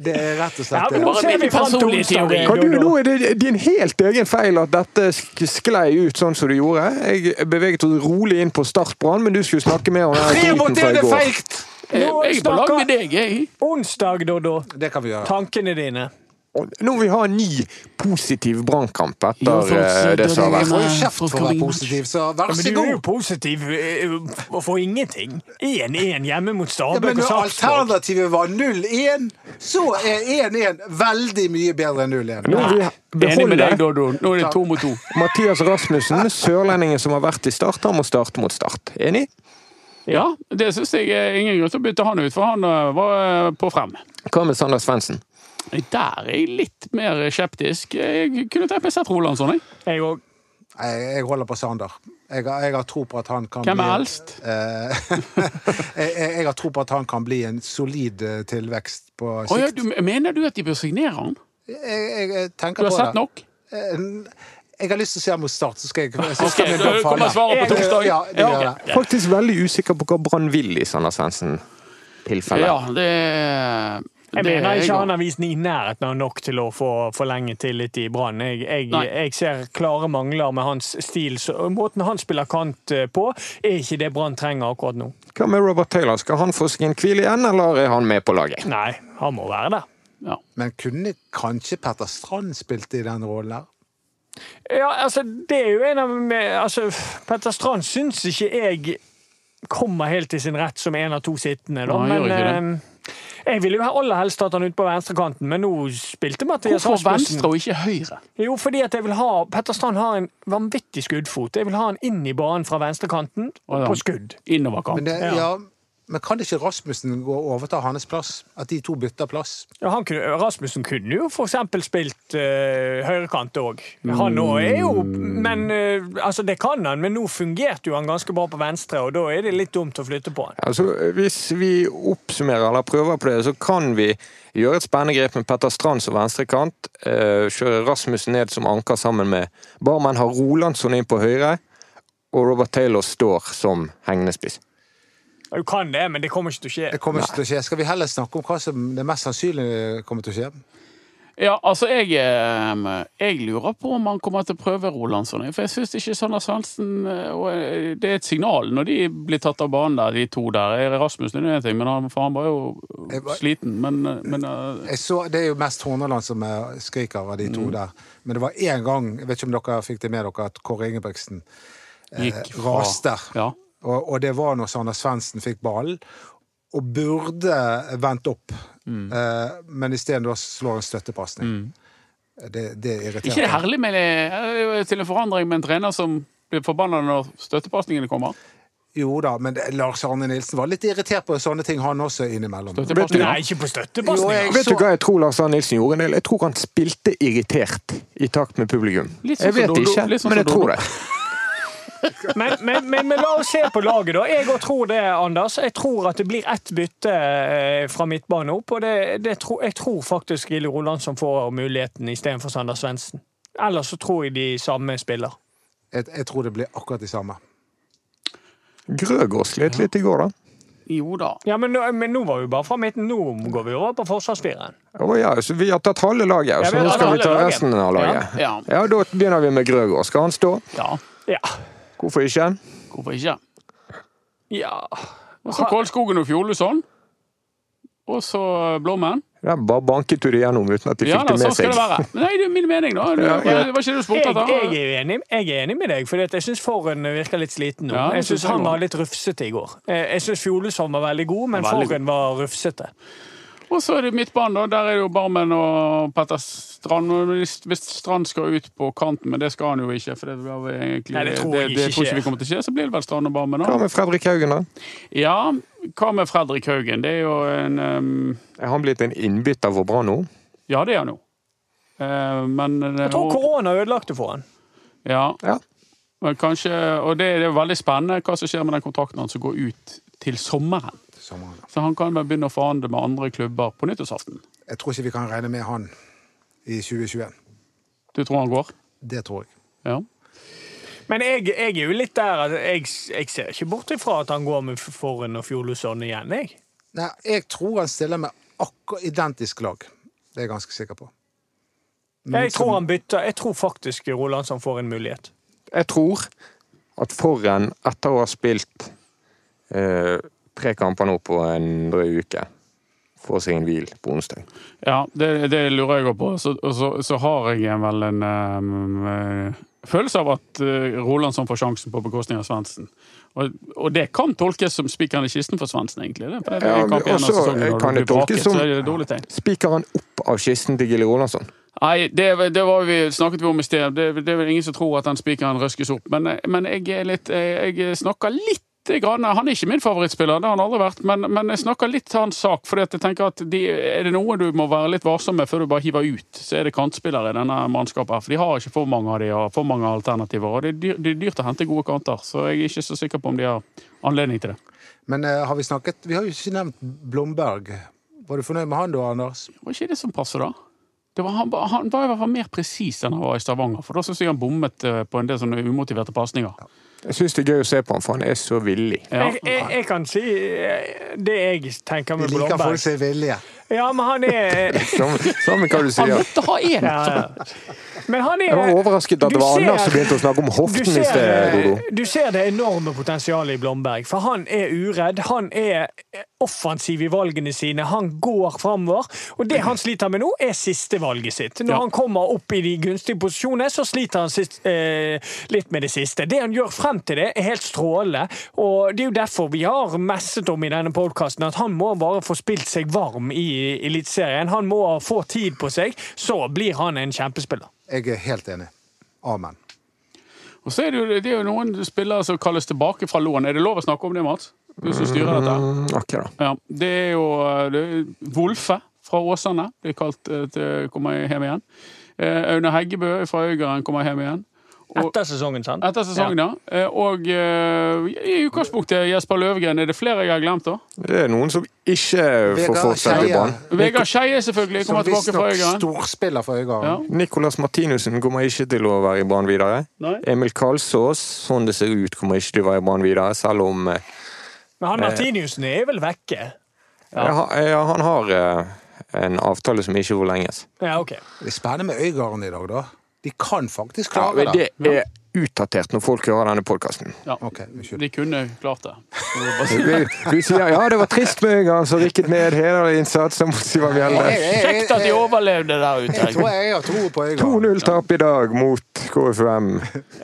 S4: Det er rett og
S3: Ja,
S4: slett
S3: men nå
S4: det.
S5: Bare
S3: ser vi
S5: min
S3: fram til
S5: personlige
S3: onsdag.
S5: teori.
S2: Kan du,
S3: Dodo.
S2: nå er det din helt egen feil at dette sk- sklei ut sånn som det gjorde. Jeg beveget oss rolig inn på startbrann, men du skulle snakke mer om den
S4: Tre mot
S2: driten fra
S4: én
S2: i
S4: er
S2: går.
S4: feigt!
S5: Jeg er på lag med deg, jeg.
S3: Onsdag, Doddo.
S4: Det kan vi gjøre.
S3: Tankene dine.
S2: Og Nå vil vi ha en ny positiv brannkamp
S5: Jo, folk
S2: etter eh, det
S5: sier
S2: som har
S5: det
S2: vært.
S5: er-
S4: Får jo kjeft
S5: Folk
S4: for å
S5: kan
S4: være
S5: bli
S4: positiv, så vær
S3: Ja, men
S4: så
S3: du er jo
S4: god.
S3: positiv eh, eh, for ingenting. 1-1 hjemme mot
S4: Ja, men
S3: Stabæk og
S4: når
S3: Sarpsborg.
S4: alternativet var 0-1, så er 1-1 veldig mye bedre enn 0-1.
S2: Nå vil vi
S5: Enig med
S2: beholde
S5: deg, Dodo. Nå er det to mot to.
S2: Mathias Rasmussen, sørlendingen som har vært i Start. Han må starte mot Start. Enig?
S5: Ja, det syns jeg er ingen grunn til å bytte han ut, for han øh, var øh, på frem.
S2: Hva med Sander Svendsen?
S5: Der er jeg litt mer skeptisk. Jeg kunne tenkt meg sett Roland sånn, jeg.
S3: Jeg òg.
S4: Nei, Jeg holder på Sander. Jeg har, jeg har tro på at han kan
S5: Hvem er
S4: bli-
S5: eldst?
S4: Eh, [LAUGHS] jeg, jeg jeg har tro på at han kan bli en solid eh, tilvekst på
S5: Å ja,
S4: sikt.
S5: du, mener du at de bør signere han?
S4: Jeg, jeg, jeg
S5: Du
S4: tenker
S5: har
S4: på
S5: sett
S4: det.
S5: nok?
S4: Eh, Jeg har lyst til å se ham mot Start, så skal jeg, jeg så
S5: Ok,
S4: skal vi
S5: da
S4: bare
S5: kommer
S4: falle. Eh,
S5: svaret på torsdag.
S4: Ja, det gjør
S5: Ja,
S4: jeg.
S5: ok.
S2: Faktisk veldig usikker på hva Brann vil i Sander Svendsen-tilfellet.
S5: Ja, det det
S3: Jeg mener
S5: er
S3: ikke han
S5: også.
S3: har vist i nærheten av nok til å få forlenge tillit i Brann. Jeg, jeg,
S5: Nei.
S3: jeg ser klare mangler med hans stil. Så måten han spiller kant eh, på, er ikke det Brann trenger akkurat nå.
S2: Hva med Robert Taylor? Skal han få seg en hvil igjen, eller er han med på laget?
S3: Nei, han må være der.
S5: Ja.
S4: Men kunne kanskje Petter Strand spilt i den rollen der?
S3: Ja, altså, det er jo en av med, altså, Petter Strand syns ikke jeg kommer helt til sin rett som en av to sittende, da.
S5: Nei, han gjør
S3: men
S5: ikke
S3: eh, jeg ville jo aller helst hatt han ut på venstrekanten, men nå spilte Mathias
S5: Hvorfor
S3: Rasmussen.
S5: venstre og ikke høyre?
S3: Jo, fordi at jeg vil ha Petter Strand har en vanvittig skuddfot. Jeg vil ha han inn i banen fra venstrekanten
S5: Å, ja.
S3: på skudd.
S4: Men,
S5: Innoverkamp.
S4: det,
S3: Ja.
S4: ja, men kan ikke Rasmussen gå og overta hans plass? At de to bytter plass?
S3: Ja, han kunne, Rasmussen kunne jo for eksempel spilt eh, høyrekant òg. Han òg er jo
S5: Mm.
S3: Men eh, altså, det kan han, men nå fungerte jo han ganske bra på venstre, og da er det litt dumt å flytte på han.
S2: Altså, hvis vi oppsummerer eller prøver på det, så kan vi gjøre et spennende grep med Petter Strand som venstrekant. eh, Kjøre Rasmussen ned som anker sammen med Barmen har Rolandsson inn på høyre. Og Robert Taylor står som hengende spiss.
S3: Ja, Du kan det, men det kommer ikke til å skje.
S4: Det kommer ikke til å skje. Skal vi heller snakke om hva som det mest sannsynlig kommer til å skje?
S5: Ja, altså, jeg, eh, jeg lurer på om han kommer til å prøve Rolandsson. For jeg syns ikke Sander Svendsen eh, og, eh, Det er et signal når de blir tatt av banen der, de to der. Eh, Rasmussen er jo en ting, men han, for han var
S4: Jeg
S5: jo
S4: var-
S5: sliten. Men, eh, men eh,
S4: Jeg så, det er jo mest Horneland som eh, skriker av de to der. Men det var én gang, jeg vet ikke om dere fikk det med dere, at Kåre Ingebrigtsen
S5: gikk
S4: raste.
S5: Ja.
S4: Og, og det var når Sander Svendsen fikk ballen. og burde vendt opp, eh, men isteden da slår en støttepasning. Det, det irriterer
S5: ikke det herlig med eh, det, til en forandring med en trener som blir forbanna når støttepasningene kommer?
S4: Jo da, men det- Lars Arne Nilsen var litt irritert på sånne ting, han også, innimellom.
S5: Støttepasninger.
S3: Nei, ikke på støttepasninger.
S4: Jo,
S2: Vet
S4: Så-
S2: du hva jeg tror Lars Arne Nilsen gjorde en del? Jeg tror han spilte irritert i takt med publikum.
S5: Litt sånn
S2: Jeg vet
S5: som Dodo-
S2: ikke,
S5: litt sånn
S2: men jeg
S5: som
S2: tror
S5: Dodo.
S2: det.
S3: [LAUGHS] Men, men, men, men la oss se på laget, da. Jeg òg tror det, Anders. Jeg tror at det blir ett bytte eh, fra midtbane opp. Og det, det tro, jeg tror faktisk Gille Rolandsson får muligheten istedenfor Sander Svendsen. Ellers så tror jeg de samme spiller.
S4: Jeg, jeg tror det blir akkurat de samme.
S2: Grøgaard slet litt i går, da.
S5: Jo da.
S3: Ja, men, nå- men nå var vi bare fra midten. Nå går vi over på forsvarsfireren.
S2: Å ja, så vi har tatt halve laget, og
S3: Ja,
S2: så
S3: vi har
S2: nå
S3: tatt
S2: skal vi ta
S3: halve laget.
S2: resten av laget.
S5: Ja, ja.
S2: Ja, da begynner vi med Grøgaard. Skal han stå?
S5: Ja,
S3: Ja.
S2: Hvorfor ikke?
S5: hvorfor ikke?
S3: ja.
S5: Og så Kålskogen og Fjoluson. Og så Blommen.
S2: Der bare banket du det gjennom uten at de
S5: Ja
S2: fikk
S5: da,
S2: det
S5: sånn
S2: med
S5: skal
S2: seg.
S5: det være. Men Nei, det er min mening, da. Du,
S2: Ja, ja.
S5: Det var ikke det du
S3: Jeg,
S5: spurte
S3: jeg,
S5: etter.
S3: er enig, jeg er enig med deg, for jeg syns Forhen virker litt sliten nå.
S5: Ja, det
S3: jeg syns
S5: synes jeg
S3: han
S5: også.
S3: var litt rufsete i går. Eh, Jeg syns Fjolesson var veldig god, men
S5: Veldig god.
S3: Forhen var rufsete.
S5: Og så er det midtbanen, da. Der er det jo Barmen og Petter Strand. Og hvis- Hvis Strand skal ut på kanten, men det skal han jo ikke. For det, var vel egentlig,
S3: Nei, det tror jeg ikke
S5: tror
S3: skjer.
S5: ikke vi kommer til å skje. Så blir det vel Strand og Barmen,
S2: Hva
S5: da.
S2: med Fredrik Haugen, da?
S5: Ja, hva med Fredrik Haugen? Det er jo en ehm,
S2: Er han blitt en innbytter for Brann nå?
S5: Ja, det er han jo. Eh, men
S3: Jeg tror korona ødelagte for han.
S5: Ja,
S2: Ja.
S5: men kanskje Og det, det er jo veldig spennende hva som skjer med den kontrakten hans som går ut til sommeren.
S4: Sommeren.
S5: Så han kan vel begynne å forhandle med andre klubber på nyttårsaften.
S4: Jeg tror ikke vi kan regne med han i 2021.
S5: Du tror han går?
S4: Det tror jeg.
S5: Ja.
S3: Men jeg, jeg er jo litt der at jeg, jeg ser ikke bort ifra at han går med Forhen og Fjolesson igjen, jeg.
S4: Nei, jeg tror han stiller med akkurat identisk lag. Det er jeg ganske sikker på.
S3: Jeg tror han bytter. Jeg tror faktisk Rolandsson får en mulighet.
S2: Jeg tror at Forhen, etter å ha spilt eh, tre kamper nå på en drøy uke, får seg en hvil på onsdag.
S5: ja det, det lurer jeg også på. Så, og så, så har jeg en vel en ehm, eh, følelse av at eh, Rolandsson får sjansen på bekostning av Svendsen. Og, og det kan tolkes som spikeren i kisten for Svendsen, egentlig. Det, for det er
S2: Ja,
S5: en kamp igjen av
S2: og så
S5: sesongen, og
S2: kan
S5: du
S2: det
S5: blir vraket,
S2: tolkes som-
S5: så er det et dårlig tegn.
S2: Spiker han opp av kisten til Gille Rolandsson?
S5: Nei, det, det var vi, snakket vi om i sted. Det, det er vel ingen som tror at den spikeren røskes opp. Men, men jeg, er litt, jeg snakker litt grann, Han er ikke min favorittspiller, det har han aldri vært, men, men jeg snakker litt til hans sak. For jeg tenker at de, er det noe du må være litt varsom med før du bare hiver ut, så er det kantspillere i denne mannskapet. her, For de har ikke for mange av de, og for mange alternativer. Og det er, dyr, det er dyrt å hente gode kanter, så jeg er ikke så sikker på om de har anledning til det.
S4: Men eh, har vi snakket Vi har jo ikke nevnt Blomberg. Var du fornøyd med han da, Anders?
S5: Var ikke det som passer, da? Det var, han, han var i hvert fall mer presis enn han var i Stavanger. For da syns jeg han bommet eh, på en del sånne umotiverte pasninger.
S2: Jeg syns det er gøy å se på han, for han er så villig.
S5: Ja.
S3: Jeg, jeg, jeg kan si eh, det jeg tenker
S4: Vi
S3: med
S4: liker folk
S3: Blomberg.
S4: som er villige.
S3: Ja, men han er
S2: [LAUGHS] Samme samme hva du
S5: Han
S2: sier.
S5: måtte ha én!
S3: ja, ja. Men han er
S2: Jeg var overrasket at
S3: Du
S2: det var
S3: ser-
S2: Anders som begynte å snakke om
S3: Du
S2: hoften i sted,
S3: ser,
S2: Dodo.
S3: du ser det enorme potensialet i Blomberg, for han er uredd. Han er eh, offensiv i valgene sine. Han går framover. Og det han sliter med nå, er sistevalget sitt. Når
S5: Ja.
S3: han kommer opp i de gunstige posisjonene, så sliter han sist, eh, litt med det siste. Det han gjør frem til det, er helt strålende. Og det er jo derfor vi har messet om i denne podkasten at han må bare få spilt seg varm i Eliteserien. Han må få tid på seg, så blir han en kjempespiller.
S4: Jeg er helt enig. Amen.
S5: Og så er det, jo, det er jo noen spillere som kalles tilbake fra lån. Er det lov å snakke om det, Mats? Du som styrer dette.
S2: Mm, ok da.
S5: Ja, det er jo eh, det er Wolfe fra Åsane blir kalt eh, til kommer hjem igjen. Eh, Aune Heggebø fra Øygarden kommer hjem igjen. Og-
S3: Etter sesongen, sant?
S5: Etter sesongen, ja. Eh, Og eh, i utgangspunktet, Jesper Løvgren, er det flere jeg har glemt, da?
S2: Det er noen som ikke får
S4: Vegard
S2: fortsette i
S4: Skeie,
S2: Brann.
S5: Vegard Skeie, selvfølgelig,
S4: som
S5: kommer tilbake fra
S4: visstnok
S5: Øygarden.
S4: storspiller for Øygarden.
S2: Nicolas Martinussen kommer ikke til å være i Brann videre.
S5: Nei.
S2: Emil Karlsås, sånn det ser ut, kommer ikke til å være i Brann videre, selv om eh,
S3: Men han Martiniussen er vel vekke?
S2: ja. ja, han har eh, en avtale som ikke forlenges.
S3: Ja, ok.
S4: Det er spennende med Øygarden i dag, da. De kan faktisk
S2: Ja,
S4: klare
S2: men
S4: det.
S2: det er utdatert når folk hører denne podkasten.
S5: Ja.
S4: Ok, unnskyld.
S5: De kunne klart det.
S2: Vi, vi sier ja, det var trist med Øygarden som rykket ned. Hederlig innsats av Siver Mjelde.
S4: Jeg- jeg-
S5: Kjekt at de overlevde der
S4: Jeg tror
S5: ute.
S4: jeg har tro på Øygarden.
S2: 2-0-tap i dag mot KFUM.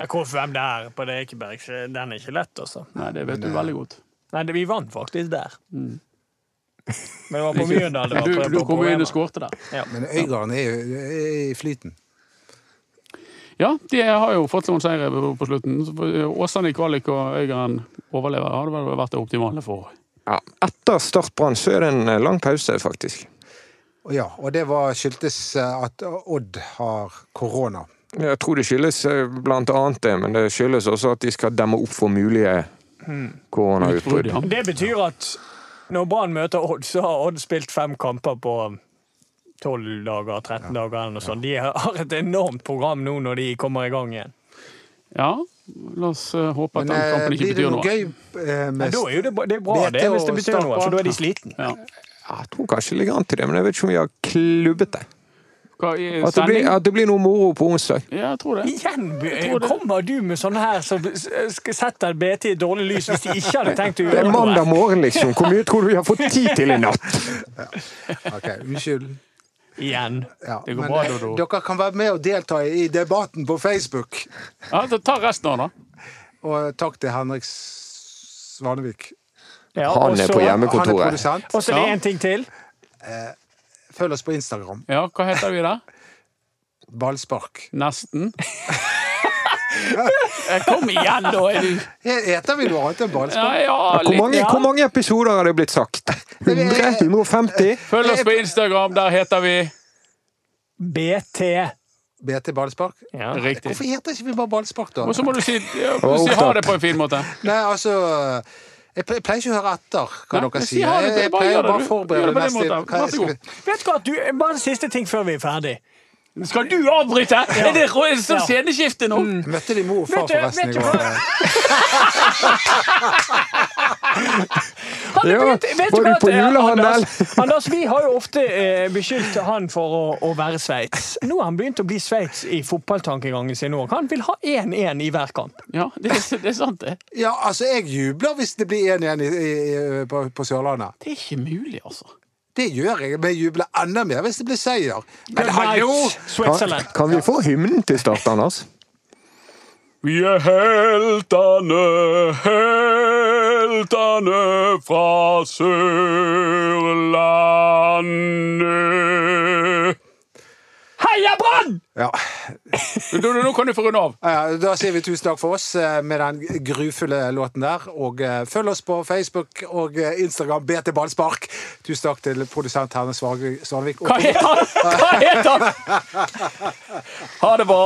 S3: Ja, KFUM der på det Ekeberg, så den er ikke lett, altså.
S4: eh,
S5: Nei, det vet du veldig godt.
S3: Nei, det- vi vant faktisk der. Men det var på Mjøndalen det var
S5: Mm. Du,
S3: prøve
S5: du
S3: på
S5: kom jo inn
S3: Bohema.
S5: og skårte der.
S3: Ja.
S4: Men Øygarden er jo er i flyten.
S5: Ja, de har jo fått noen seire på på slutten. Så for- Åsane i kvalik og Øygarden overlever. Det hadde vel vært det optimale for
S2: Ja, etter Start Brann så er det en eh, lang pause, faktisk.
S4: Og Ja, og det var skyldtes eh, at Odd har korona.
S2: Jeg tror det skyldes eh, blant annet det, men det skyldes også at de skal demme opp for mulige
S5: Utbrudd.
S2: koronautbrudd.
S5: Ja.
S3: Det betyr at når Brann møter Odd, så har Odd spilt fem kamper på 12 dager, 13 dager eller noe sånt. De har et enormt program nå når de kommer i gang igjen.
S5: Ja, la oss eh, håpe at
S4: Men
S5: den
S4: eh,
S5: kampen ikke
S4: blir det
S5: betyr
S4: noe
S5: noe.
S4: gøy eh,
S3: Men
S4: med
S3: da er jo det, ba- det er bra det, hvis det betyr noe, for da er de slitne.
S5: Ja.
S2: Ja, jeg tror kanskje det ligger an til det, men jeg vet ikke om vi har klubbet det.
S5: Hva, i
S2: At det blir,
S5: sending?
S2: at det blir noe moro på onsdag.
S5: Ja, jeg tror det.
S3: Igjen
S5: tror det.
S3: kommer du med sånne her som s- skal sette BT i dårlig lys hvis de ikke hadde tenkt å
S2: Det er
S3: gjøre noe.
S2: mandag morgen, liksom. Hvor mye tror du vi har fått tid til i natt?
S4: [LAUGHS] Ok, unnskyld.
S3: Igjen.
S4: Ja,
S5: Det går
S4: men
S5: bra,
S4: eh,
S5: Dodo.
S4: dere kan være med og delta i debatten på Facebook.
S5: Ja, så Ta resten av det, da.
S4: Og eh, takk til Henrik S- Svanevik.
S3: Ja, og
S2: Han er
S3: så-
S2: på
S4: Han er
S2: hjemmekontoret.
S4: produsent.
S3: Og så er det én ting til.
S4: Følg oss på Instagram.
S5: Ja, hva heter vi der?
S4: Ballspark.
S2: [LAUGHS]
S5: Nesten. Eh, Kom igjen, da! Er du...
S4: Heter vi noe annet enn
S5: ja,
S4: ballspark?
S5: ja,
S2: Hvor mange,
S5: litt.
S2: hvor mange episoder har det blitt sagt? 100? 150?
S5: Følg oss på Instagram, der heter vi
S3: BT.
S4: BT Ballspark?
S3: Ja.
S5: Riktig.
S4: Hvorfor heter ikke vi bare ballspark, da?
S5: Og så må du si, ja, må du si ha det på en fin måte.
S4: Nei, altså Jeg ple- pleier ikke å høre etter hva
S5: Nei,
S4: dere
S5: men si
S4: sier.
S5: ha det,
S4: Jeg, jeg
S5: bare
S4: pleier
S5: gjør det,
S4: bare
S5: du.
S4: å forberede
S5: Gjør det på den
S4: neste
S5: måten.
S4: hva
S5: Vær
S4: jeg
S5: så
S4: skal-
S5: god.
S3: Vet du hva, du, bare en siste ting før vi er ferdig.
S5: Skal du avbryte? Er det rå- er det sånn
S3: Ja.
S5: sceneskifte nå?
S4: Jeg Møtte de mor og far
S3: Vet du-
S4: forresten i
S3: vet du
S4: går?
S3: Han
S2: Ja,
S3: vet- vet
S2: var
S3: hva
S2: du
S3: at,
S2: på
S3: eh,
S2: julehandel?
S3: Anders, Anders, vi har jo ofte eh, beskyldt han for å, å være Sveits. Nå har han begynt å bli Sveits i fotballtankegangen sin òg. Han vil ha 1-1 i hver kamp.
S5: [LAUGHS] Ja, det er, det er sant, det.
S4: Ja, altså, jeg jubler hvis det blir 1-1 i- i- i- på, på Sørlandet.
S5: Det er ikke mulig, altså.
S4: Det gjør jeg, men jeg jubler enda mer hvis det blir seier. Men
S3: Good
S4: hallo!
S3: night,
S2: Kan,
S3: Switzerland.
S2: kan vi få hymnen til altså? Start, Anders?
S5: Vi er heltene, heltene fra Sørlandet.
S3: Heia Brann!
S4: Ja.
S5: Nå kan du få runde av.
S4: Ja, Da sier vi tusen takk for oss eh, med den grufulle låten der. Og eh, følg oss på Facebook og eh, Instagram BT Ballspark. Tusen takk til produsent Herne Svanevik.
S5: Hva heter han? Hva heter han? Ha det bra.